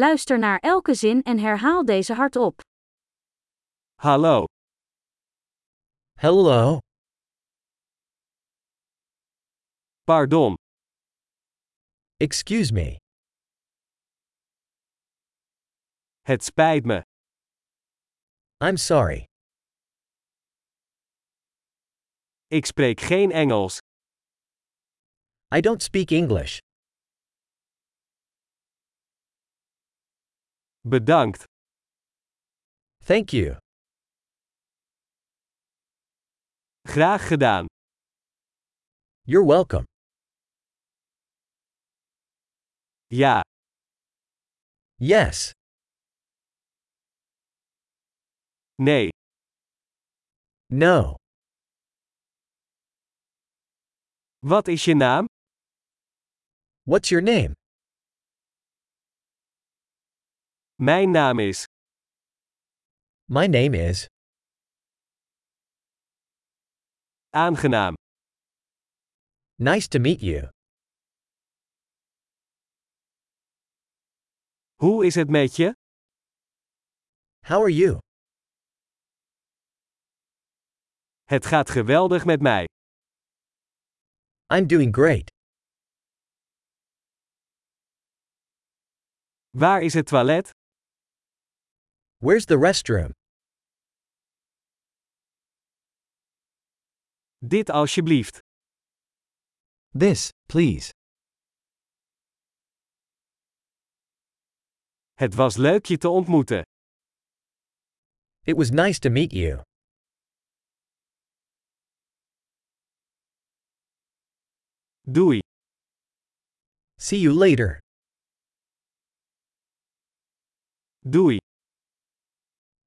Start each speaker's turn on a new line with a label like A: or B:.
A: Luister naar elke zin en herhaal deze hardop.
B: Hallo,
C: Hello.
B: pardon,
C: Excuse me.
B: het spijt me,
C: I'm sorry.
B: ik spreek geen Engels.
C: I don't speak English.
B: Bedankt,
C: Thank you.
B: graag gedaan.
C: You're welcome.
B: Ja,
C: Yes.
B: nee,
C: No.
B: wat is je naam?
C: What's your name?
B: Mijn naam is.
C: My name is.
B: Aangenaam,
C: Nice to meet you.
B: hoe is het met je?
C: How are you?
B: Het gaat geweldig met mij.
C: I'm doing great.
B: Waar is het toilet?
C: Where's the restroom?
B: Dit alsjeblieft.
C: This, please.
B: Het was leuk je te ontmoeten.
C: It was nice to meet you.
B: Doei.
C: See you later.
B: Doei.